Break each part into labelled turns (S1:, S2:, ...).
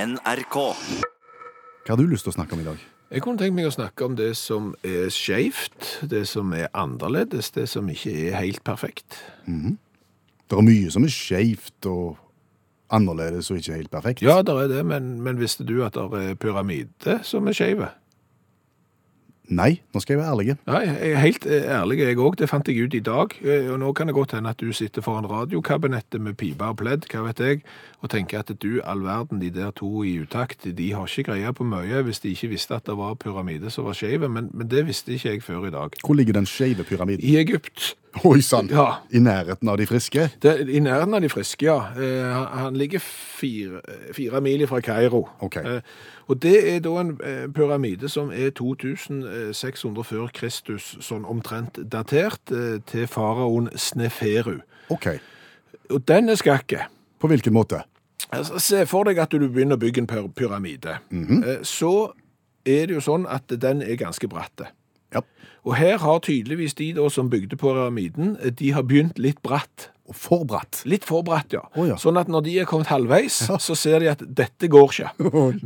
S1: NRK.
S2: Hva har du lyst til å snakke om i dag?
S3: Jeg kunne tenkt meg å snakke om det som er skjevt, det som er annerledes, det som ikke er helt perfekt.
S2: Det er mye som er skjevt og annerledes og ikke helt perfekt.
S3: Ja, det er det, men, men visste du at det er pyramide som er skjeve?
S2: Nei, nå skal jeg være ærlig.
S3: Nei, jeg er helt eh, ærlig jeg òg, det fant jeg ut i dag. Eh, Og nå kan det godt hende at du sitter foran radiokabinettet med pipe og pledd, hva vet jeg, og tenker at du, all verden, de der to i utakt, de har ikke greie på mye hvis de ikke visste at det var pyramide som var skeive, men, men det visste ikke jeg før i dag.
S2: Hvor ligger den skeive pyramiden?
S3: I Egypt,
S2: Oi sann!
S3: Ja.
S2: I nærheten av de friske?
S3: det, i nærheten av de friske, ja, eh, han- han ligger fire, fire mil fra Kairo.
S2: Ok.
S3: Eh, Og det er da en eh, pyramide som er 2600 før Kristus, sånn omtrent datert, eh, til faraoen Sneferu.
S2: OK.
S3: Og den er skakket.
S2: På hvilken måte?
S3: Altså, se for deg at du begynner å bygge en pyr- pyramide.
S2: Mhm.
S3: Eh, Så er det jo sånn at den er ganske bratte.
S2: Ja.
S3: Og her har tydeligvis de da som bygde pyramiden, eh, de har begynt litt bratt.
S2: Og For bratt.
S3: Litt for bratt, ja.
S2: Å, ja.
S3: Sånn at når de er kommet halvveis, så ser de at dette går ikke.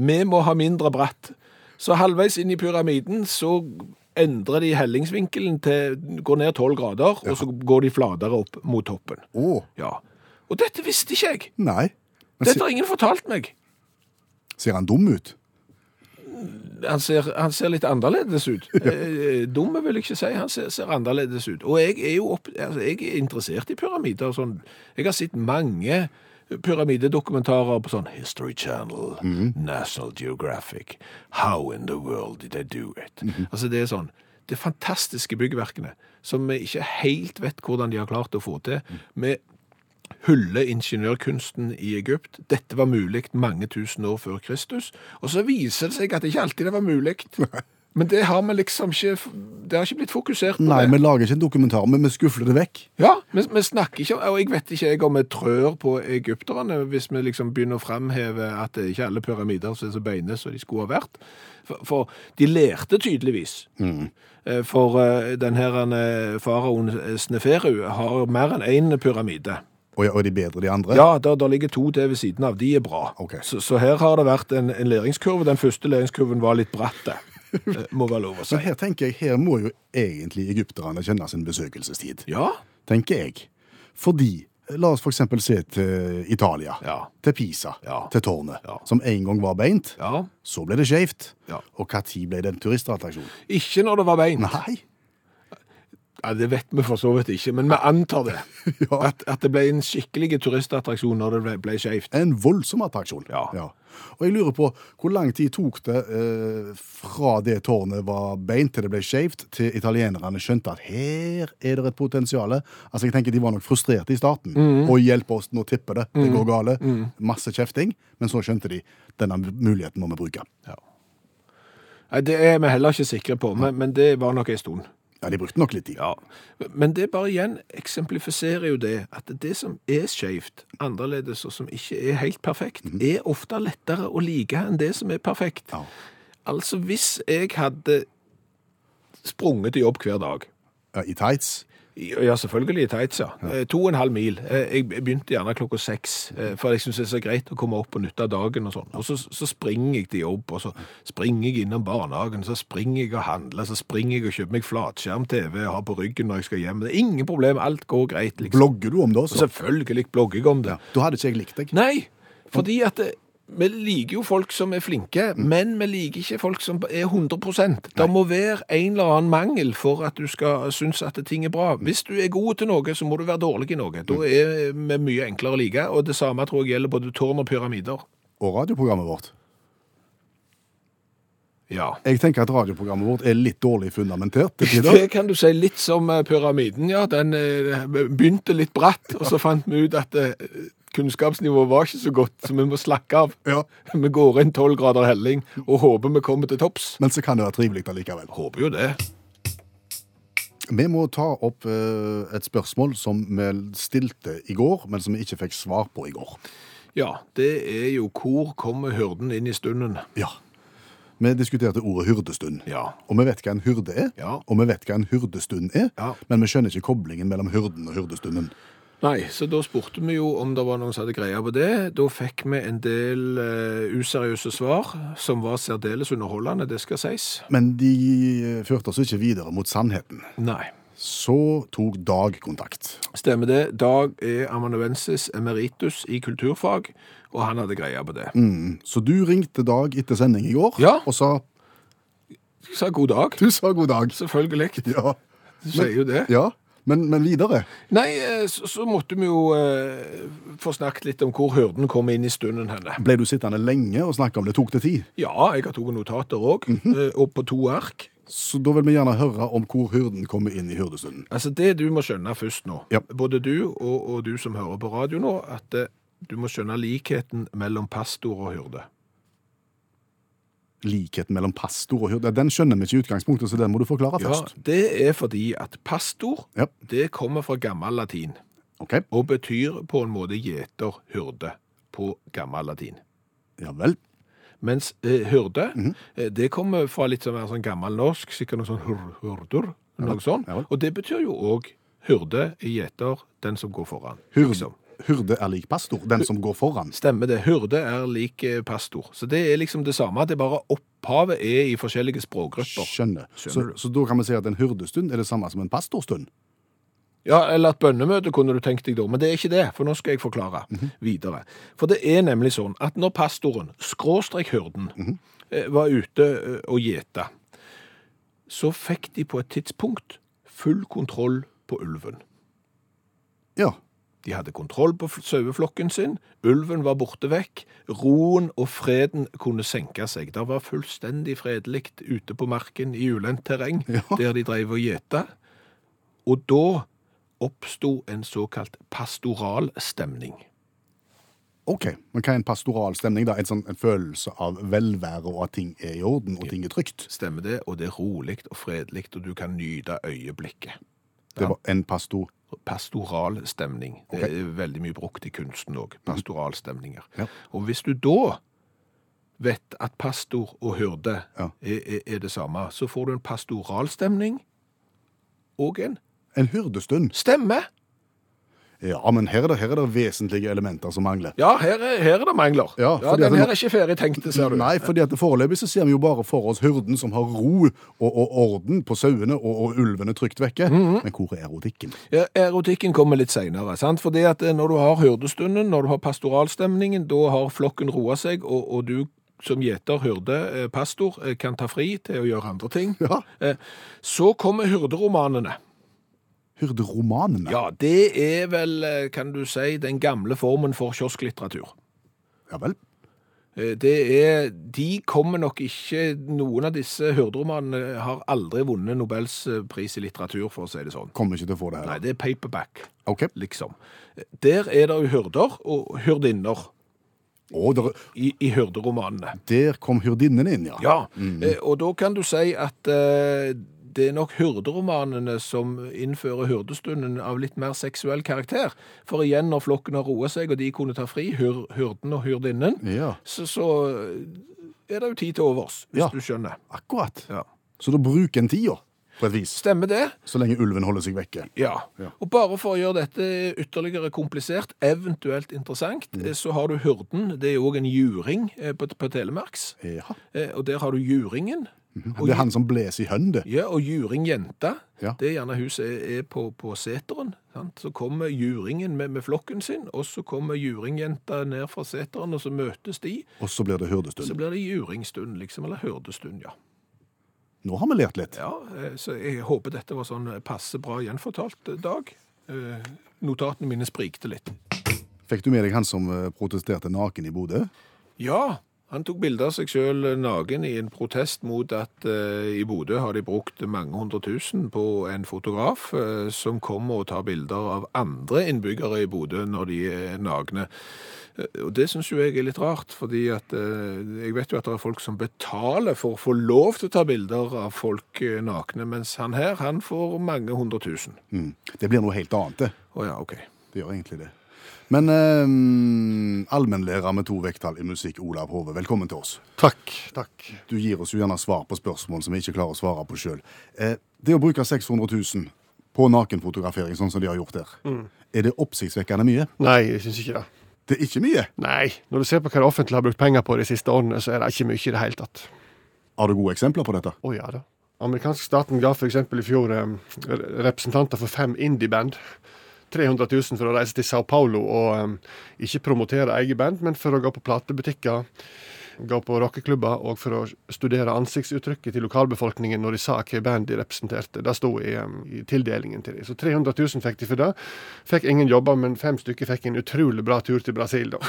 S3: Vi må ha mindre bratt. Så halvveis inn i pyramiden, så endrer de hellingsvinkelen til, går ned 12 grader, og så går de fladere opp mot toppen.
S2: Å,
S3: Ja. Og dette visste ikke jeg.
S2: nei. Men
S3: Dette
S2: se,
S3: har ingen fortalt meg.
S2: ser han dum ut?
S3: Han ser, han ser litt annerledes ut. Eh, Dumme vil jeg ikke si, han ser, ser annerledes ut. Og jeg er jo opp, altså, jeg er interessert i pyramider. og Sånn. Jeg har sett mange pyramidedokumentarer på sånn History Channel, National Geographic, How in the World Did They Do It? Altså det er sånn, det er fantastiske byggverkene som vi ikke helt vet hvordan de har klart å få til, med hylle ingeniørkunsten i Egypt. Dette var mulig mange tusen år før Kristus. Og så viser det seg at det ikke alltid det var mulig. Men det har vi liksom ikke Det har ikke blitt fokusert på.
S2: Nei,
S3: det.
S2: vi lager ikke en dokumentar, men vi skufler det vekk.
S3: Ja, vi, vi snakker ikke om Og jeg vet ikke jeg om vi trør på egypterne hvis vi liksom begynner å framheve at det er ikke alle pyramider som er så beine som de skulle ha vært. For, for de lærte tydeligvis. Eh, For eh, den her eh, faraoen eh, Sneferu har mer enn én pyramide.
S2: Og, og de bedre de andre?
S3: Ja, der, der ligger to til ved siden av. De er bra.
S2: Ok.
S3: Så, så her har det vært en, en læringskurve. Den første læringskurven var litt bratt, det. Eh, Må være lov å si.
S2: Men her tenker jeg, her må jo egentlig egypterne kjenne sin besøkelsestid,
S3: Ja,
S2: tenker jeg. Fordi, la oss for eksempel se til Italia,
S3: Ja.
S2: til Pisa,
S3: Ja.
S2: til tårnet,
S3: Ja.
S2: som en gang var beint,
S3: ja.
S2: så ble det skjevt,
S3: Ja.
S2: og hva tid ble det en turistattraksjon?
S3: Ikke når det var bein.
S2: Nei,
S3: Ja, det vet vi for så vidt ikke, men vi antar det. at, at det ble en skikkelig turistattraksjon når det ble, ble skjevt.
S2: en voldsom attraksjon.
S3: Ja.
S2: Og jeg lurer på, hvor lang tid tok det eh, fra det tårnet var beint til det ble skjevt, til italienerne skjønte at her er det et potensiale? Altså, jeg tenker de var nok frustrerte i starten,
S3: Mhm.
S2: og hjelp oss, nå tipper det, det går gale, masse kjefting, men så skjønte de, denne muligheten må vi bruke.
S3: Nei, det er vi heller ikke sikre på, men, men det var nok en stund.
S2: Ja, de brukte nok litt tid.
S3: Ja, Men det bare igjen eksemplifiserer jo det at det som er skjevt, annerledes og som ikke er helt perfekt, er ofte lettere å like enn det som er perfekt.
S2: Ja.
S3: Altså hvis jeg hadde sprunget i jobb hver dag
S2: Ja, I tights.
S3: ja, selvfølgelig i tights, ja. Eh, To og en halv mil. Eh, Jeg begynte gjerne klokka seks, eh, for jeg syns det er så greit å komme opp og nytte av dagen og sånn. Og så, så springer jeg til jobb, og så springer jeg innom barnehagen, så springer jeg og handler, så springer jeg og kjøper meg flatskjerm-TV og har på ryggen når jeg skal hjem. Det er ingen problem, alt går greit, liksom.
S2: Blogger du om det
S3: Og
S2: også?
S3: selvfølgelig blogger jeg om det.
S2: Da hadde ikke jeg likt deg.
S3: Nei, fordi at eh, vi liker jo folk som er flinke, men vi liker ikke folk som er 100 Det må være en eller annen mangel for at du skal synes at ting er bra. Hvis du er god til noe, så må du være dårlig i noe. Da er vi mye enklere å like, og det samme tror jeg gjelder både tårn og pyramider.
S2: Og radioprogrammet vårt.
S3: Ja.
S2: Jeg tenker at radioprogrammet vårt er litt dårlig fundamentert. til tider.
S3: Det kan du si litt som eh, pyramiden, ja. Den eh, begynte litt bratt, og så fant vi ut at eh, kunnskapsnivået var ikke så godt, så vi må slakke av.
S2: Ja.
S3: Vi går inn 12 grader helling og håper vi kommer til topps.
S2: Men så kan det være trivelig allikevel.
S3: Håper jo det.
S2: Vi må ta opp eh, et spørsmål som vi stilte i går, men som vi ikke fikk svar på i går.
S3: Ja, det er jo hvor kommer hyrden inn i stunden?
S2: Ja. Vi diskuterte ordet hyrdestund.
S3: Ja.
S2: Og vi vet hva en hyrde er,
S3: Ja.
S2: og vi vet hva en hyrdestund er,
S3: Ja.
S2: men vi skjønner ikke koblingen mellom hyrden og hyrdestunden.
S3: Nei, så da spurte vi jo om det var noen som hadde greia på det. Da fikk vi en del eh, useriøse svar, som var særdeles underholdende, det skal sies.
S2: Men de eh, førte oss ikke videre mot sannheten.
S3: Nei.
S2: Så tok Dag kontakt.
S3: Stemmer det. Dag er amanuensis emeritus i kulturfag, og han hadde greia på det.
S2: Mm. Så du ringte Dag etter sending i går
S3: Ja.
S2: og sa
S3: Jeg sa god dag.
S2: du sa god dag.
S3: Selvfølgelig.
S2: Ja,
S3: Du sier jo det.
S2: ja. Men, men videre.
S3: Nei, eh, så, så måtte vi jo eh, få snakket litt om hvor hurden kom inn i stunden henne.
S2: Ble du sittende lenge og snakke om det tok til tid?
S3: Ja, jeg har tatt notater òg,
S2: Mhm.
S3: og på to ark.
S2: Så da vil vi gjerne høre om hvor hyrden kommer inn i hyrdestunden.
S3: Altså Det du må skjønne først nå,
S2: Ja.
S3: både du og, og du som hører på radio nå, at eh, du må skjønne likheten mellom pastor og hyrde.
S2: Likheten mellom pastor og hyrde, den skjønner vi ikke i utgangspunktet, så den må du forklare
S3: Ja,
S2: først.
S3: Det er fordi at pastor
S2: Ja.
S3: det kommer fra gammel latin,
S2: Ok,
S3: og betyr på en måte gjeter, hyrde, på gammel latin.
S2: ja vel.
S3: Mens eh, hyrde,
S2: Mhm.
S3: eh, det kommer fra litt sånn, mer sånn gammel norsk, sikkert noe sånn hur, hurdur, noe sånn.
S2: ja vel.
S3: Og det betyr jo òg hyrde, gjeter, den som går foran.
S2: Hyrde,
S3: liksom.
S2: hyrde er lik pastor, den som går foran.
S3: Stemmer det. Hyrde er lik eh, pastor. Så det er liksom det samme, det er bare opphavet er i forskjellige språkgrupper.
S2: Skjønner. Så,
S3: Skjønner du.
S2: så da kan vi si at en hyrdestund er det samme som en pastorstund.
S3: Ja, eller et bønnemøte kunne du tenkt deg da, men det er ikke det, for nå skal jeg forklare videre. For det er nemlig sånn at når pastoren, skråstrek hyrden, eh, var ute eh, og gjeta, så fikk de på et tidspunkt full kontroll på ulven.
S2: Ja,
S3: De hadde kontroll på f- saueflokken sin, ulven var borte vekk, roen og freden kunne senke seg. Det var fullstendig fredelig ute på marken i ulendt terreng,
S2: Ja.
S3: der de drev og gjeta. Og da oppsto en såkalt pastoral stemning.
S2: ok. Men hva er en pastoral stemning da? En sånn en følelse av velvære og at ting er i orden og ting er trygt.
S3: Stemmer det? Og det er rolig og fredelig, og du kan nyte øyeblikket.
S2: Det var en pastor.
S3: Pastoral stemning. Det
S2: Ok. Mhm.
S3: er veldig mye brukt i kunsten òg. Pastoralstemninger.
S2: Ja.
S3: Og hvis du da vet at pastor og hyrde
S2: Ja.
S3: er, er, er det samme, så får du en pastoralstemning og en
S2: En hyrdestund.
S3: stemme.
S2: Ja, men her er det, her er det vesentlige elementer som mangler.
S3: Ja, her er, her er det mangler.
S2: Ja, fordi at
S3: Den
S2: det-
S3: her er ikke ferdig tenkt, ser du.
S2: Nei, fordi at foreløpig så ser vi jo bare for oss hyrden som har ro og, og orden på sauene og, og ulvene trygt vekke.
S3: Mhm.
S2: Men hvor er erotikken?
S3: Ja, Erotikken kommer litt seinere. Fordi at eh, når du har hyrdestunden, når du har pastoralstemningen, da har flokken roa seg, og, og du som gjeter, hyrde, eh, pastor, eh, kan ta fri til å gjøre andre ting.
S2: Ja,
S3: Eh, Så kommer hyrderomanene.
S2: hyrderomanene.
S3: Ja, det er vel, eh, kan du si, den gamle formen for kiosklitteratur.
S2: Ja vel.
S3: Eh, Det er, de kommer nok ikke, noen av disse hyrderomanene har aldri vunnet Nobels eh, pris i litteratur, for å si det sånn.
S2: Kommer ikke til å få det her.
S3: Nei, det er paperback,
S2: Ok.
S3: liksom. Eh, Der er det jo hyrder og hyrdinner
S2: Å, der,
S3: i, i hyrderomanene.
S2: der kom hyrdinnene inn, ja.
S3: Ja,
S2: Mhm.
S3: eh, og da kan du si at eh, det er nok hyrderomanene som innfører hyrdestunden av litt mer seksuell karakter. For igjen, når flokken har roet seg, og de kunne ta fri, hyr, hyrden og hyrdinnen,
S2: Ja,
S3: så, så eh, er det jo tid til overs, hvis
S2: Ja.
S3: du skjønner.
S2: akkurat.
S3: Ja.
S2: Så da bruker en tida, på et vis,
S3: Stemmer det?
S2: så lenge ulven holder seg vekke.
S3: Ja.
S2: Ja.
S3: Og bare for å gjøre dette ytterligere komplisert, eventuelt interessant,
S2: Mm.
S3: eh, så har du hyrden. Det er jo òg en juring eh, på, på Telemarks.
S2: Ja.
S3: Eh, Og der har du juringen. Og
S2: Mhm. Det er han som bles i hønde.
S3: Ja, og juringjenta,
S2: Ja.
S3: det er gjerne hun som er- er på, på seteren. Sant? Så kommer juringen med, med flokken sin, og så kommer juringjenta ned fra seteren, og så møtes de.
S2: Og så blir det
S3: Så
S2: hyrdestund.
S3: blir det juringstund, liksom, eller hørdestund, ja.
S2: Nå har vi lært litt.
S3: ja. eh, Så jeg håper dette var sånn passe bra gjenfortalt, eh, Dag. Eh, Notatene mine sprikte litt.
S2: Fikk du med deg han som eh, protesterte naken i Bodø?
S3: Ja, han tok bilder av seg selv nagen i en protest mot at eh, i Bodø har de brukt mange hundre tusen på en fotograf eh, som kommer og tar bilder av andre innbyggere i Bodø når de er nagne. Eh, Og det syns jo jeg er litt rart, fordi at eh, jeg vet jo at det er folk som betaler for å få lov til å ta bilder av folk eh, nakne, mens han her, han får mange hundre tusen.
S2: Mm. Det blir noe helt annet, det.
S3: Å ja, OK.
S2: Det gjør egentlig det. Men eh, allmennlærer med to vekttall i musikk, Olav Hove, velkommen til oss.
S1: Takk. Takk.
S2: Du gir oss jo gjerne svar på spørsmål som vi ikke klarer å svare på sjøl. Eh, det å bruke 600 000 på nakenfotografering, sånn som de har gjort der.
S3: Mm.
S2: Er det oppsiktsvekkende mye?
S1: Nei, jeg syns ikke det.
S2: Det er ikke mye.
S1: Nei, når du ser på hva det offentlige har brukt penger på de siste årene, så er det ikke mye i det hele tatt.
S2: Har du gode eksempler på dette?
S1: Å ja da. Amerikanske staten ga f.eks. i fjor eh, re- representanter for fem indieband 300 000 for å reise til Sao Paulo og eh, ikke promotere eget band, men for å gå på platebutikker, gå på rockeklubber og for å studere ansiktsuttrykket til lokalbefolkningen når de sa hva band de representerte. Det sto i, eh, i tildelingen til dem. Så 300 000 fikk de for det. Fikk ingen jobber, men fem stykker fikk en utrolig bra tur til Brasil, da.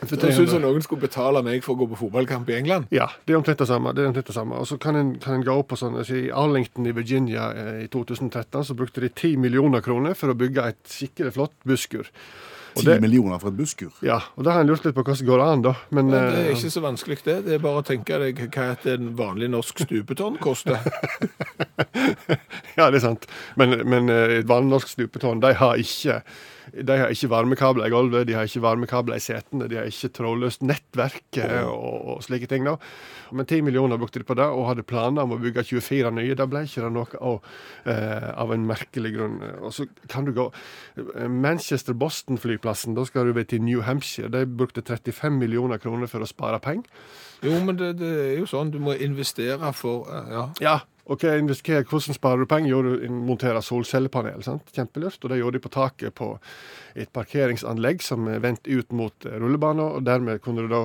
S1: For
S3: Det høres ut som noen skulle betale meg for å gå på fotballkamp i England.
S1: ja, det er omtrent det samme. det er omtrent det samme. Og så kan en, kan en gå opp på sånn altså, I Arlington i Virginia eh, i 2013 så brukte de 10 millioner kroner for å bygge et skikkelig flott busskur. Og
S2: Ti
S1: det,
S2: millioner for et busskur?
S1: ja, og da har en lurt litt på hvordan det går an, da. Men
S3: Men det er
S1: eh,
S3: ikke så vanskelig, det. Det er bare å tenke deg hva et en vanlig norsk stupetonn koster.
S1: ja, det er sant. Men, men eh, et vanlig norsk stupetårn, de har ikke de har ikke varmekabler i gulvet, de har ikke varmekabler i setene, de har ikke trådløst nettverk eh, og, og slike ting. da. Men 10 millioner brukte de på det, og hadde planer om å bygge 24 nye. Det ble ikke det noe av, eh, av en merkelig grunn. Og så kan du gå eh, Manchester-Boston-flyplassen, da skal du ved til New Hampshire. De brukte 35 millioner kroner for å spare penger.
S3: Jo, men det, det er jo sånn. Du må investere for eh, Ja.
S1: Ja. Ok, investere, Hvordan sparer du penger? Jo, du monterer solcellepanel. sant? Kjempelurt. Og det gjorde de på taket på et parkeringsanlegg som er vendt ut mot eh, rullebanen. og Dermed kunne du da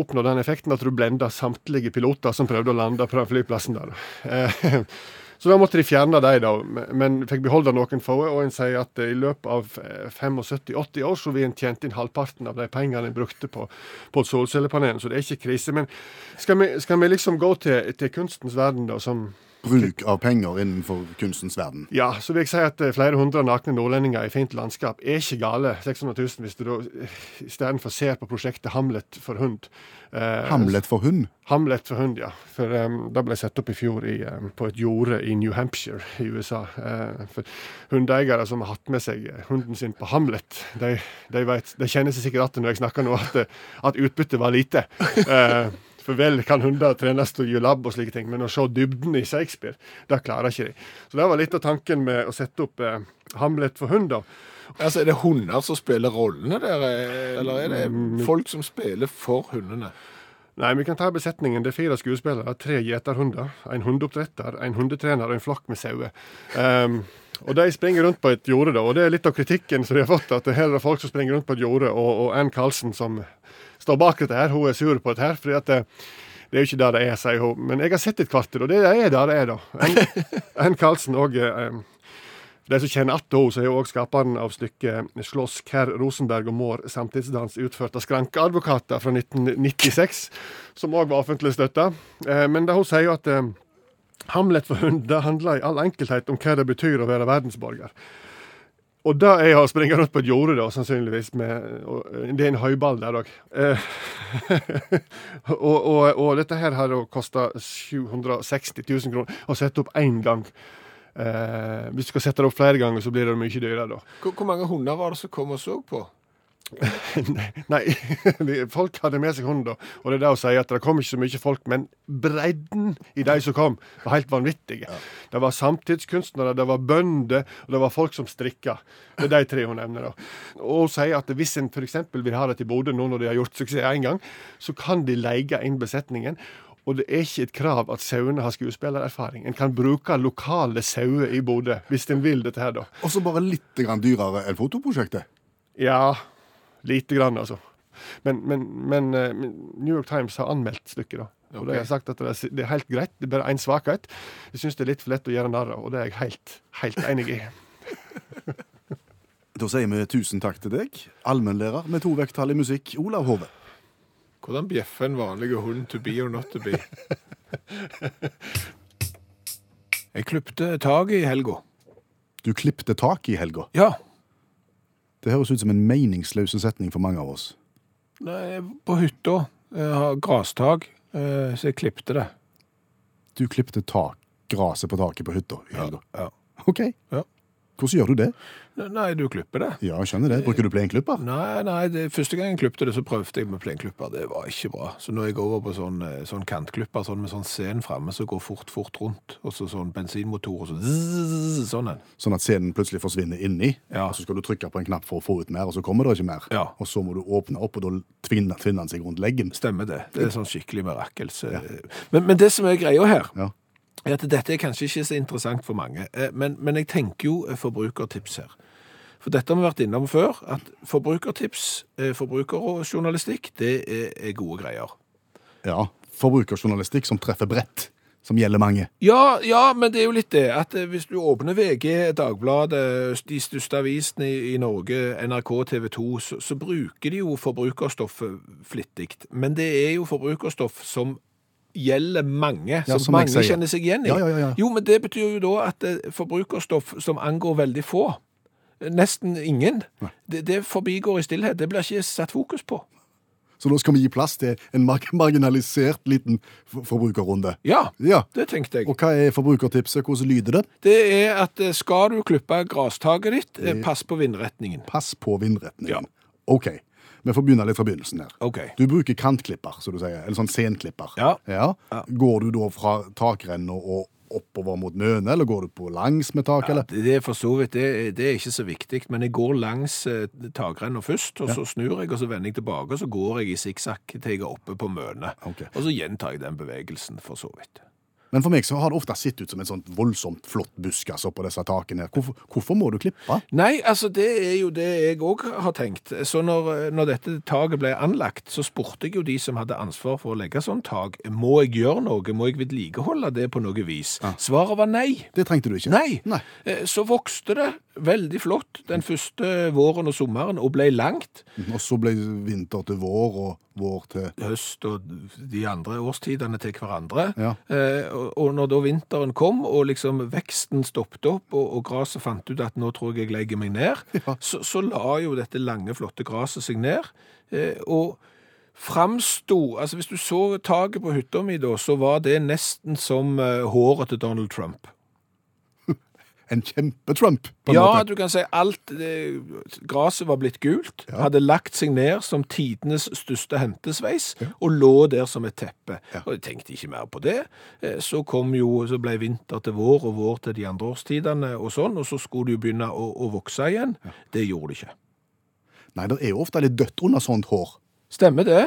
S1: oppnå den effekten at du blenda samtlige piloter som prøvde å lande på den flyplassen der. Eh, Så da måtte de fjerne de, da, men- men fikk beholde noen få. Og en sier at eh, i løpet av eh, 75-80 år så vil en tjent inn halvparten av de pengene en brukte på, på solcellepanelen, så det er ikke krise. Men skal vi, skal vi liksom gå til, til kunstens verden, da, som
S2: Bruk av penger innenfor kunstens verden.
S1: ja, så vil jeg si at eh, flere hundre nakne nordlendinger i fint landskap er ikke gale. 600 000 hvis du da eh, istedenfor ser på prosjektet Hamlet for hund. Eh,
S2: Hamlet for hund.
S1: Hamlet for hund, ja. For um, Det ble satt opp i fjor i, em, på et jorde i New Hampshire i USA. Eh, for Hundeeiere som har hatt med seg eh, hunden sin på Hamlet, de, de, vet, de kjenner seg sikkert igjen når jeg snakker nå, at, eh, at utbyttet var lite. Eh, for vel kan hunder trenes til å gjøre labb og slike ting, men å se dybden i Shakespeare, det klarer ikke de. Så det var litt av tanken med å sette opp eh, Hamlet for hund, da.
S3: Altså, Er det hunder som spiller rollene der, eh, eller er det folk som spiller for hundene?
S1: Nei, vi kan ta besetningen. Det er fire skuespillere, tre gjeterhunder, en hundeoppdretter, en hundetrener og en flokk med sauer. Ehm, og de springer rundt på et jorde, da. Og det er litt av kritikken som de har fått, at her er det folk som springer rundt på et jorde, og, og Ann Carlsen som står bak dette her, hun er sur på dette her. fordi at det, det er jo ikke der det er, sier hun. Men jeg har sett et kvarter, og det er der det er, da. Ann, Ann Carlsen og ehm, for de som kjenner att henne, så er hun òg skaperen av stykket 'Slåss Kerr Rosenberg og Maar samtidsdans', utført av Skrankeadvokater fra 1996, som òg var offentlig støtta. Eh, Men det hun sier jo at eh, Hamlet for hund det handler i all enkelthet om hva det betyr å være verdensborger. Og det er å springe rundt på et jorde, da, sannsynligvis. Med, og, eh, det er en høyball der òg. Eh, og, og, og dette her har kosta 760 000 kroner å sette opp én gang. Eh, hvis du skal sette det opp flere ganger, så blir det mye dyrere, da.
S3: Hvor, hvor mange hunder var det som kom og så på?
S1: Nei, de- folk hadde med seg hund, da. Og det er det å si at det kom ikke så mye folk, men bredden i de som kom, var helt vanvittige. Det var samtidskunstnere, det var bønder, og det var folk som strikka. Det er de tre hun nevner, da. Og hun sier at hvis en f.eks. vil ha det til Bodø nå når de har gjort suksess én gang, så kan de leie inn besetningen. Og det er ikke et krav at sauene har skuespillererfaring. En kan bruke lokale sauer i Bodø, hvis en vil dette her, da.
S2: Og så bare litt grann dyrere enn fotoprosjektet.
S1: Ja, lite grann, altså. Men, men, men eh, men New York Times har anmeldt stykket, da. Og de har sagt at det er, det er helt greit, det er bare én svakhet. Jeg syns det er litt for lett å gjøre narr av, og det er jeg helt, helt enig i.
S2: Da sier vi tusen takk til deg, allmennlærer med to vekttall i musikk, Olav Hove.
S3: Hvordan bjeffer en vanlig hund to be or not to be? Jeg klipte taket i helga.
S2: Du klipte tak i helga.
S3: Ja.
S2: Det høres ut som en meningsløs setning for mange av oss.
S3: Nei, på hytta. Jeg har grastak, eh, så jeg klipte det.
S2: Du klipte tak, graset på taket på hytta i helga.
S3: Ja.
S2: OK.
S3: Ja.
S2: Hvordan gjør du det?
S3: Nei, du klipper det.
S2: Ja, jeg skjønner det. Bruker du plenklipper?
S3: Nei, nei, det, første gang jeg klippte det, så prøvde jeg med plenklipper. Det var ikke bra. Så nå er jeg over på sånn, eh, sånn kantklipper, sånn med sånn sen framme som går fort, fort rundt. Og så sånn bensinmotor og så zzz, sånn en.
S2: Sånn at scenen plutselig forsvinner inni,
S3: Ja.
S2: og så skal du trykke på en knapp for å få ut mer, og så kommer det ikke mer.
S3: Ja.
S2: Og så må du åpne opp, og da tvinner, tvinner den seg rundt leggen.
S3: Stemmer det. Det er sånn skikkelig mirakel. så- Men, men det som er greia her,
S2: Ja.
S3: er at dette er kanskje ikke så interessant for mange. Eh, Men, men jeg tenker jo eh, forbrukertips her. For dette har vi vært innom før, at forbrukertips, eh, forbruker og journalistikk, det er, er gode greier.
S2: Ja. Forbrukerjournalistikk som treffer bredt, som gjelder mange.
S3: Ja, ja, men det er jo litt det at eh, hvis du åpner VG, Dagbladet, de største avisene i, i Norge, NRK, TV 2, så, så bruker de jo forbrukerstoffet flittig. Men det er jo forbrukerstoff som gjelder mange, som,
S2: som jeg
S3: mange
S2: sier.
S3: kjenner seg igjen i.
S2: Ja, ja, ja, ja.
S3: Jo, men det betyr jo da at eh, forbrukerstoff som angår veldig få, eh, nesten ingen, det, det forbigår i stillhet. Det blir ikke satt fokus på.
S2: Så nå skal vi gi plass til en mar marginalisert liten for- forbrukerrunde.
S3: Ja,
S2: Ja.
S3: det tenkte jeg.
S2: Og hva er forbrukertipset? Hvordan lyder det?
S3: Det er at eh, skal du klippe grastaket ditt, eh, pass på vindretningen.
S2: Pass på vindretningen.
S3: Ja.
S2: OK. Vi får begynne litt fra begynnelsen her.
S3: Ok.
S2: Du bruker kantklipper, som du sier. Eller sånn senklipper.
S3: Ja.
S2: ja. Går du da fra takrenna og oppover mot mønet, eller går du på langs med taket, eller?
S3: Det er for så vidt, det, det er ikke så viktig, men jeg går langs eh, takrenna først, og så snur jeg, og så vender jeg tilbake, og så går jeg i sikksakk til jeg er oppe på mønet.
S2: Ok.
S3: Og så gjentar jeg den bevegelsen, for så vidt.
S2: Men for meg så har det ofte sett ut som en sånn voldsomt flott buskas oppå disse takene. her. Hvorfor, hvorfor må du klippe?
S3: Nei, altså det er jo det jeg òg har tenkt. Så når, når dette taket ble anlagt, så spurte jeg jo de som hadde ansvar for å legge sånn tak, må jeg gjøre noe, må jeg vedlikeholde det på noe vis? Svaret var nei.
S2: Det trengte du ikke.
S3: Nei.
S2: Nei.
S3: Eh, Så vokste det veldig flott den første våren og sommeren, og ble langt.
S2: Og så ble det vinter til vår, og vår til
S3: høst og de andre årstidene til hverandre.
S2: Ja.
S3: Eh, og, og når da vinteren kom, og liksom veksten stoppet opp, og, og graset fant ut at nå tror jeg jeg legger meg ned, så, så la jo dette lange, flotte graset seg ned. Eh, og framsto Altså, hvis du så taket på hytta mi da, så var det nesten som eh, håret til Donald Trump.
S2: en kjempe-Trump, på en
S3: ja,
S2: måte.
S3: du kan si alt eh, Graset var blitt gult, hadde lagt seg ned som tidenes største hentesveis, og lå der som et teppe. Og jeg tenkte ikke mer på det. Eh, Så kom jo, så ble vinter til vår, og vår til de andre årstidene, og sånn, og så skulle det jo begynne å, å vokse igjen. Det gjorde det ikke.
S2: Nei, det er jo ofte litt dødt under sånt hår.
S3: Stemmer det.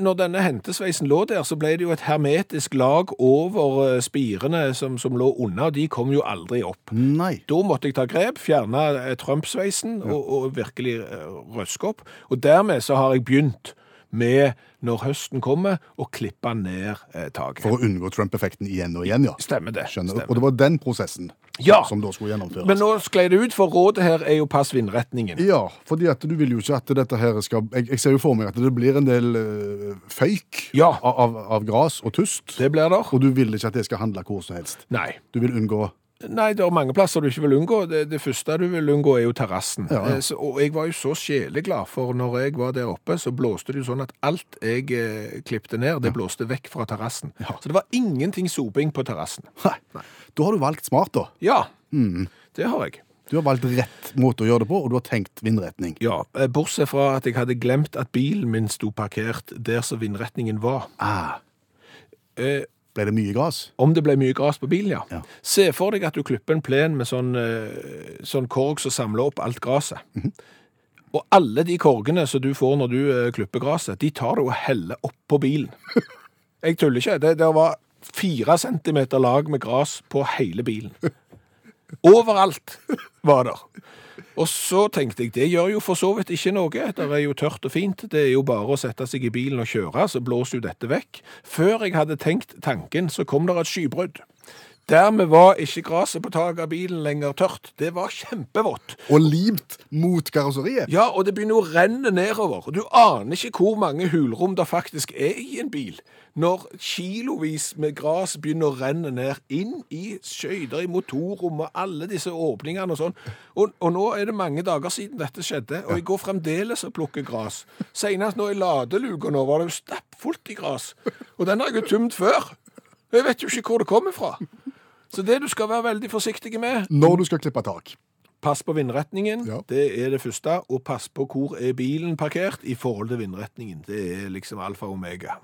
S3: Når denne hentesveisen lå der, så ble det jo et hermetisk lag over eh, spirene som, som lå unna, og de kom jo aldri opp.
S2: Nei.
S3: Da måtte jeg ta grep, fjerne eh, Trump-sveisen og, og virkelig eh, røske opp. Og dermed så har jeg begynt med, når høsten kommer, å klippe ned eh, taket.
S2: For å unngå Trump-effekten igjen og igjen, ja.
S3: Stemmer det.
S2: Skjønner.
S3: Stemmer.
S2: Og det var den prosessen
S3: Ja.
S2: som da skulle gjennomføres.
S3: Men nå sklei det ut, for rådet her er jo pass vindretningen.
S2: Ja, fordi at du vil jo ikke at dette her skal Jeg, jeg ser jo for meg at det blir en del eh, føyk
S3: Ja.
S2: av, av, av gras og tust.
S3: Det blir der.
S2: Og du vil ikke at det skal handle hvor som helst.
S3: Nei.
S2: Du vil unngå
S3: Nei, det er mange plasser du ikke vil unngå. Det, det første du vil unngå, er jo terrassen.
S2: Ja, ja.
S3: Eh, så- Og jeg var jo så sjeleglad, for når jeg var der oppe, så blåste det jo sånn at alt jeg eh, klippte ned, det blåste vekk fra terrassen. Så det var ingenting soping på terrassen.
S2: Nei. Da har du valgt smart, da.
S3: Ja,
S2: Mm.
S3: det har jeg.
S2: Du har valgt rett måte å gjøre det på, og du har tenkt vindretning.
S3: Ja, eh, Bortsett fra at jeg hadde glemt at bilen min sto parkert der som vindretningen var.
S2: Ah,
S3: Eh,
S2: ble det mye gras?
S3: om det ble mye gras på bilen, ja.
S2: Ja.
S3: Se for deg at du klipper en plen med sånn, eh, sånn korg som samler opp alt graset. Og alle de korgene som du får når du eh, klipper graset, de tar du og heller opp på bilen. Jeg tuller ikke. Det, det var fire centimeter lag med gras på hele bilen. Overalt var der. Og så tenkte jeg, det gjør jo for så vidt ikke noe. Det er jo tørt og fint. Det er jo bare å sette seg i bilen og kjøre, så blåser jo dette vekk. Før jeg hadde tenkt tanken, så kom der et skybrudd. Dermed var ikke gresset på taket av bilen lenger tørt. Det var kjempevått.
S2: Og limt mot karosseriet?
S3: Ja, og det begynner å renne nedover. Du aner ikke hvor mange hulrom det faktisk er i en bil. Når kilovis med gras begynner å renne ned, inn i skøyter i motorrommet, alle disse åpningene og sånn. Og, og nå er det mange dager siden dette skjedde, og jeg går fremdeles og plukker gras. Senest nå i ladeluka nå var det jo stappfullt i gras. Og den har jeg jo tømt før. Jeg vet jo ikke hvor det kommer fra. Så det du skal være veldig forsiktig med
S2: Når du skal klippe tak.
S3: Pass på vindretningen,
S2: Ja.
S3: det er det første. Og pass på hvor er bilen parkert i forhold til vindretningen. Det er liksom alfa og omega.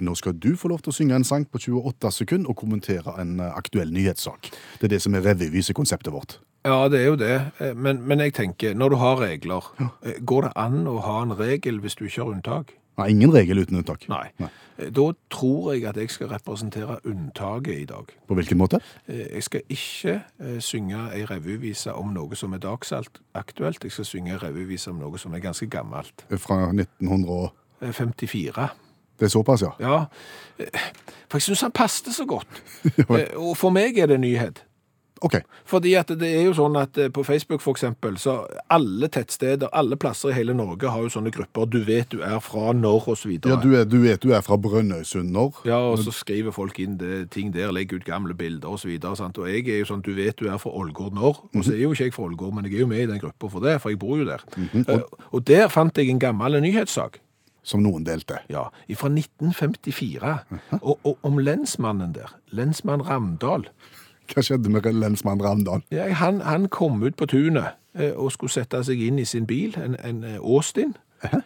S2: Nå skal du få lov til å synge en sang på 28 sekunder og kommentere en eh, aktuell nyhetssak. Det er det som er revyvis i konseptet vårt.
S3: Ja, det er jo det. Eh, Men, men jeg tenker, når du har regler, eh, går det an å ha en regel hvis du ikke har unntak?
S2: Nei, ingen regel uten unntak.
S3: Nei. Eh, Da tror jeg at jeg skal representere unntaket i dag.
S2: På hvilken måte?
S3: Eh, Jeg skal ikke eh, synge ei revyvise om noe som er dagsalt aktuelt. Jeg skal synge ei revyvise om noe som er ganske gammelt.
S2: Fra 1900 og
S3: Eh, 54.
S2: Det er såpass, ja.
S3: Ja. Eh, For jeg syns han passet så godt. Eh, Og for meg er det nyhet.
S2: OK.
S3: Fordi at det er jo sånn at eh, på Facebook for eksempel, så alle tettsteder, alle plasser i hele Norge har jo sånne grupper. Du vet du er fra når, og
S2: Ja,
S3: så videre.
S2: du, er, du vet du er fra Brønnøysund når?
S3: Ja, og så skriver folk inn det, ting der, legger ut gamle bilder og så videre. Sant? Og jeg er jo sånn, du vet du er fra Ålgård når, og så er jo ikke jeg fra Ålgård, men jeg er jo med i den gruppa for det, for jeg bor jo der.
S2: Mhm.
S3: Eh, Og der fant jeg en gammel nyhetssak,
S2: Som noen delte.
S3: ja, fra 1954, og, og om lensmannen der, lensmann Ramdal.
S2: Hva skjedde med lensmann Ramdal?
S3: Ja, han, han kom ut på tunet eh, og skulle sette seg inn i sin bil, en, en eh, Austin. Eh,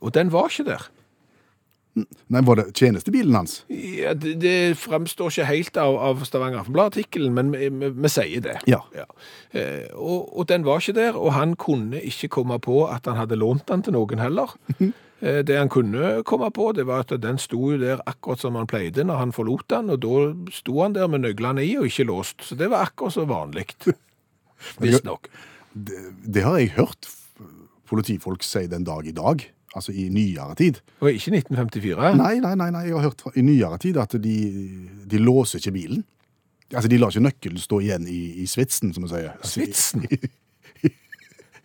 S3: Og den var ikke der.
S2: Nei, var det tjenestebilen hans?
S3: Ja, det, det fremstår ikke helt av, av Stavanger Aftenblad-artikkelen, men vi, vi, vi sier det.
S2: Ja.
S3: Eh, og, og den var ikke der, og han kunne ikke komme på at han hadde lånt den til noen heller. Eh, det han kunne komme på, det var at den sto jo der akkurat som han pleide når han forlot den, og da sto han der med nøglene i og ikke låst. Så det var akkurat så vanlig. Visstnok.
S2: Det, det har jeg hørt f- politifolk si den dag i dag. Altså i nyere tid.
S3: Og ikke 1954.
S2: Nei, nei, nei, nei. jeg har hørt fra- i nyere tid at de, de låser ikke bilen. Altså, de lar ikke nøkkelen stå igjen i, i svitsen, som vi sier. Altså, i-
S3: Svitsen?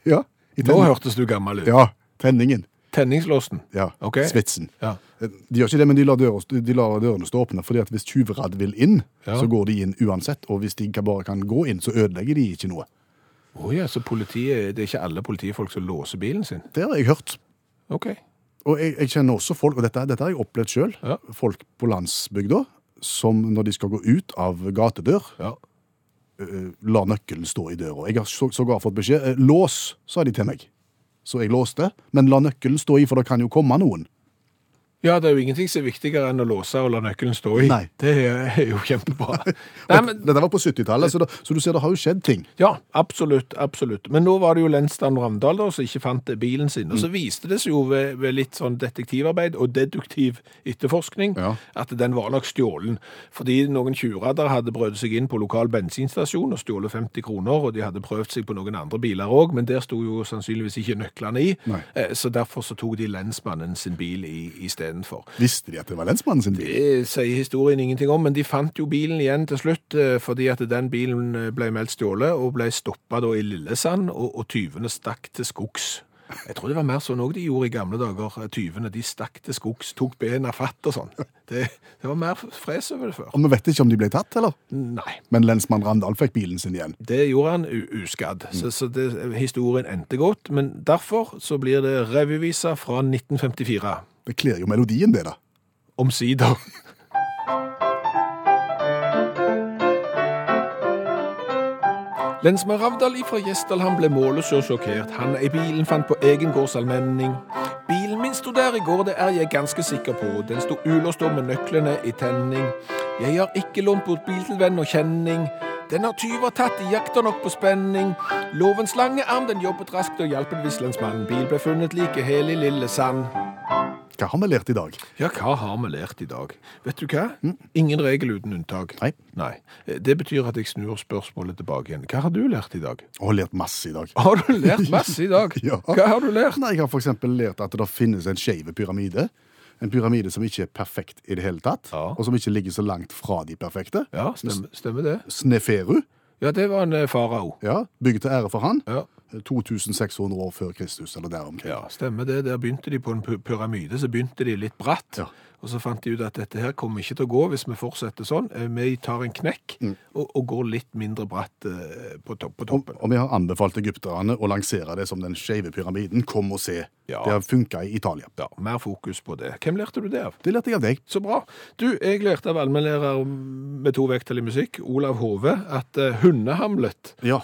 S2: Ja. I
S3: Nå
S2: tenning-
S3: hørtes du gammel ut.
S2: Ja, tenningen.
S3: Tenningslåsen.
S2: Ja,
S3: Ok.
S2: svitsen.
S3: Ja.
S2: De gjør ikke det, men de lar, døra- de lar dørene stå åpne, fordi at hvis tjuvradd vil inn,
S3: Ja.
S2: så går de inn uansett, og hvis de kan- bare kan gå inn, så ødelegger de ikke noe.
S3: Å ja, så politiet, det er ikke alle politifolk som låser bilen sin?
S2: Det har jeg hørt.
S3: Ok.
S2: Og jeg, jeg kjenner også folk, og dette, dette har jeg opplevd selv,
S3: Ja.
S2: folk på landsbygda, som når de skal gå ut av gatedør,
S3: Ja.
S2: eh, lar nøkkelen stå i døra. Jeg har så- sågar fått beskjed, eh, lås, sa de til meg. Så jeg låste, men la nøkkelen stå i, for det kan jo komme noen.
S3: Ja, det er jo ingenting som er viktigere enn å låse og la nøkkelen stå i.
S2: Nei.
S3: Det er jo kjempebra. Nei, men,
S2: Dette var på 70-tallet, så, da- så du ser det har jo skjedd ting.
S3: ja, absolutt, absolutt. Men nå var det jo Lensdan Ramdal da, som ikke fant bilen sin.
S2: Mm.
S3: Og så viste det seg jo ved, ved litt sånn detektivarbeid og deduktiv etterforskning
S2: Ja.
S3: at den var nok stjålen. Fordi noen tjuvradder hadde brødd seg inn på lokal bensinstasjon og stjålet 50 kroner, og de hadde prøvd seg på noen andre biler òg, men der sto jo sannsynligvis ikke nøklene i.
S2: Nei.
S3: Eh, Så derfor så tok de lensmannen sin bil istedenfor.
S2: Visste de at det var lensmannen sin bil?
S3: Det sier historien ingenting om, men de fant jo bilen igjen til slutt, eh, fordi at den bilen eh, ble meldt stjålet, og ble stoppa da i Lillesand, og, og tyvene stakk til skogs. Jeg tror det var mer sånn òg de gjorde i gamle dager. eh, Tyvene de stakk til skogs, tok bena fatt og sånn. Det, det var mer fres over det før.
S2: Og vi vet ikke om de ble tatt, eller?
S3: Nei.
S2: Men lensmann Randal fikk bilen sin igjen.
S3: Det gjorde han u- uskadd, så, så det, historien endte godt. Men derfor så blir det revyvisa fra 1954.
S2: Det kler jo melodien, det, da.
S3: Omsider. Lensmann Ravdal ifra Gjesdal han ble målet så sjokkert. Han i bilen fant på egen gårdsallmenning. Bilen min sto der i går, det er jeg ganske sikker på. Den sto ulåst og med nøklene i tenning. Jeg har ikke lånt bort bil til venn og kjenning. Den har tyver tatt, de jakter nok på spenning. Lovens lange arm, den jobbet raskt og hjalp en viss lensmann. Bil ble funnet like hel i Lillesand.
S2: Hva har vi lært i dag?
S3: Ja, hva har vi lært i dag? Vet du hva? Ingen regel uten unntak. Eh,
S2: Nei.
S3: Det betyr at jeg snur spørsmålet tilbake igjen. Hva har du lært i dag?
S2: Jeg har lært masse i dag.
S3: Har du lært masse i dag?
S2: Ja.
S3: Hva har du lært?
S2: Nei, Jeg har f.eks. lært at det finnes en skeiv pyramide. En pyramide som ikke er perfekt i det hele tatt,
S3: Ja.
S2: og som ikke ligger så langt fra de perfekte.
S3: Ja, stemmer, stemmer det.
S2: Sneferu,
S3: Ja, det var en eh, farao.
S2: ja, bygd til ære for han. Eh,
S3: Ja.
S2: 2600 år før Kristus, eller der omkring.
S3: Ja, stemmer det. Der begynte de på en py- pyramide, så begynte de litt bratt.
S2: Ja.
S3: Og så fant de ut at dette her kommer ikke til å gå hvis vi fortsetter sånn. Eh, Vi tar en knekk og, og går litt mindre bratt eh, på, topp, på
S2: Og,
S3: toppen.
S2: og vi har anbefalt egypterne å lansere det som den skeive pyramiden. Kom og se.
S3: Ja.
S2: Det har funka i Italia.
S3: Ja, mer fokus på det. Hvem lærte du det av?
S2: Det lærte jeg av deg.
S3: Så bra. Du, jeg lærte av allmennlærer med to vekttall i musikk, Olav Hove, at eh, hundehamlet
S2: Ja.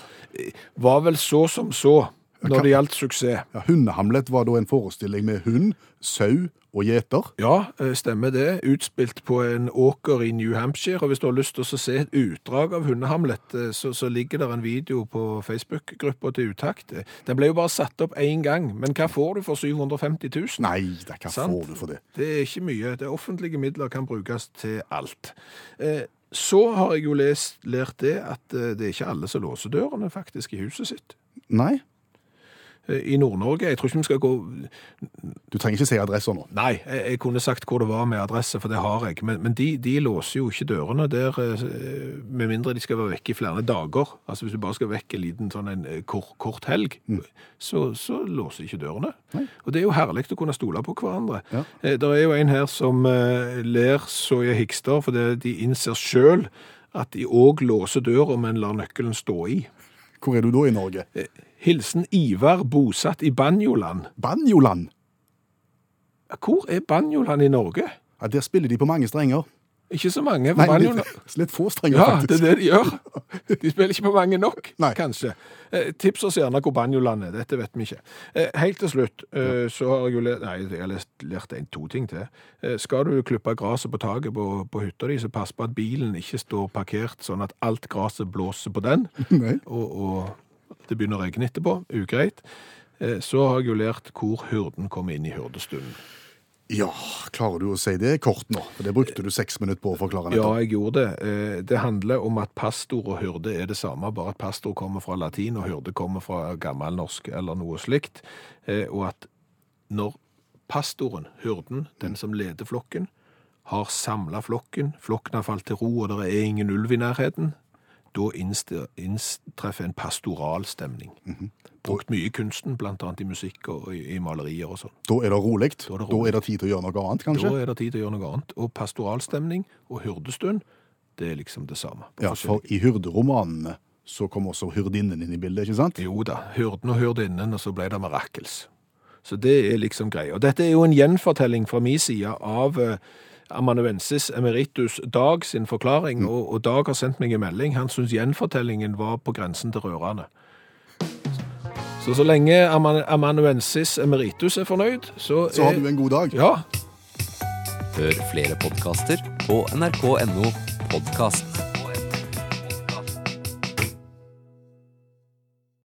S3: var vel så som så
S2: Hva-
S3: når det gjaldt suksess.
S2: ja Hundehamlet var da en forestilling med hund, sau og gjeter.
S3: Ja, eh, stemmer det. Utspilt på en åker i New Hampshire. Og hvis du har lyst til å se et utdrag av Hundehamlet, eh, så, så ligger det en video på Facebook-gruppa til Utakt. Eh, Den ble jo bare satt opp én gang, men hva får du for 750 000?
S2: Nei, det hva
S3: Sant.
S2: får du for det?
S3: Det er ikke mye. Det offentlige midler kan brukes til alt. Eh, Så har jeg jo lest, lært det at eh, det er ikke alle som låser dørene faktisk i huset sitt.
S2: Nei,
S3: Eh, I Nord-Norge. Jeg tror ikke vi skal gå
S2: du trenger ikke si adresser nå.
S3: Nei, jeg, jeg kunne sagt hvor det var med adresse, for det har jeg. Men, men de, de låser jo ikke dørene der, eh, med mindre de skal være vekk i flere dager. Altså Hvis du bare skal vekk en liten sånn en eh, kort, kort helg,
S2: Mm.
S3: så, så låser de ikke dørene. Og det er jo herlig å kunne stole på hverandre.
S2: Ja.
S3: Det er jo en her som eh, ler så jeg hikster, for det, de innser sjøl at de òg låser døra, men lar nøkkelen stå i.
S2: Hvor er du da i Norge?
S3: Hilsen Ivar, bosatt i Banjoland.
S2: Banjoland!
S3: Hvor er Banjoland i Norge?
S2: Ja, der spiller de på mange strenger.
S3: Ikke så mange. for
S2: Nei,
S3: Banjoland...
S2: litt, litt få strenger,
S3: Ja, det
S2: faktisk.
S3: er det de gjør. De spiller ikke på mange nok,
S2: Nei.
S3: kanskje. Eh, tips oss gjerne hvor banjoland er. Dette vet vi ikke. Eh, helt til slutt eh, så har jeg jo lært Nei, jeg har lest- lært en, to ting til. Eh, skal du klippe gresset på taket på, på hytta di, så pass på at bilen ikke står parkert sånn at alt gresset blåser på den,
S2: Nei.
S3: og, og det begynner å regne etterpå. Ugreit. Eh, så har jeg jo lært hvor hurden kommer inn i hurdestunden.
S2: Ja, klarer du å si det kort nå? For det brukte du seks minutter på å forklare.
S3: Ja,
S2: nettopp.
S3: jeg gjorde det. Eh, Det handler om at pastor og hyrde er det samme, bare at pastor kommer fra latin, og hyrde kommer fra gammelnorsk eller noe slikt. Eh, Og at når pastoren, hyrden, den som leder flokken, har samla flokken, flokken har falt til ro, og det er ingen ulv i nærheten, da innste- inntreffer en pastoral stemning. Brukt mye i kunsten, blant annet i musikk og i, i malerier og sånn.
S2: Da er det rolig. Da
S3: er det
S2: er det tid til å gjøre noe annet, kanskje?
S3: Da er det tid til å gjøre noe annet. Og pastoralstemning og hyrdestund, det er liksom det samme. på
S2: Ja, for i hyrderomanene så kom også hyrdinnen inn i bildet, ikke sant?
S3: Jo da, hyrden og hyrdinnen, og så ble det mirakels. Så det er liksom greia. Og Dette er jo en gjenfortelling fra min side av eh, amanuensis emeritus Dag sin
S2: Mm.
S3: forklaring, og, og Dag har sendt meg en melding. Han syns gjenfortellingen var på grensen til rørende. Så så lenge aman- amanuensis emeritus er fornøyd, så er
S2: Så har du en god dag.
S3: Ja,
S4: Hør flere podkaster på nrk.no podkast.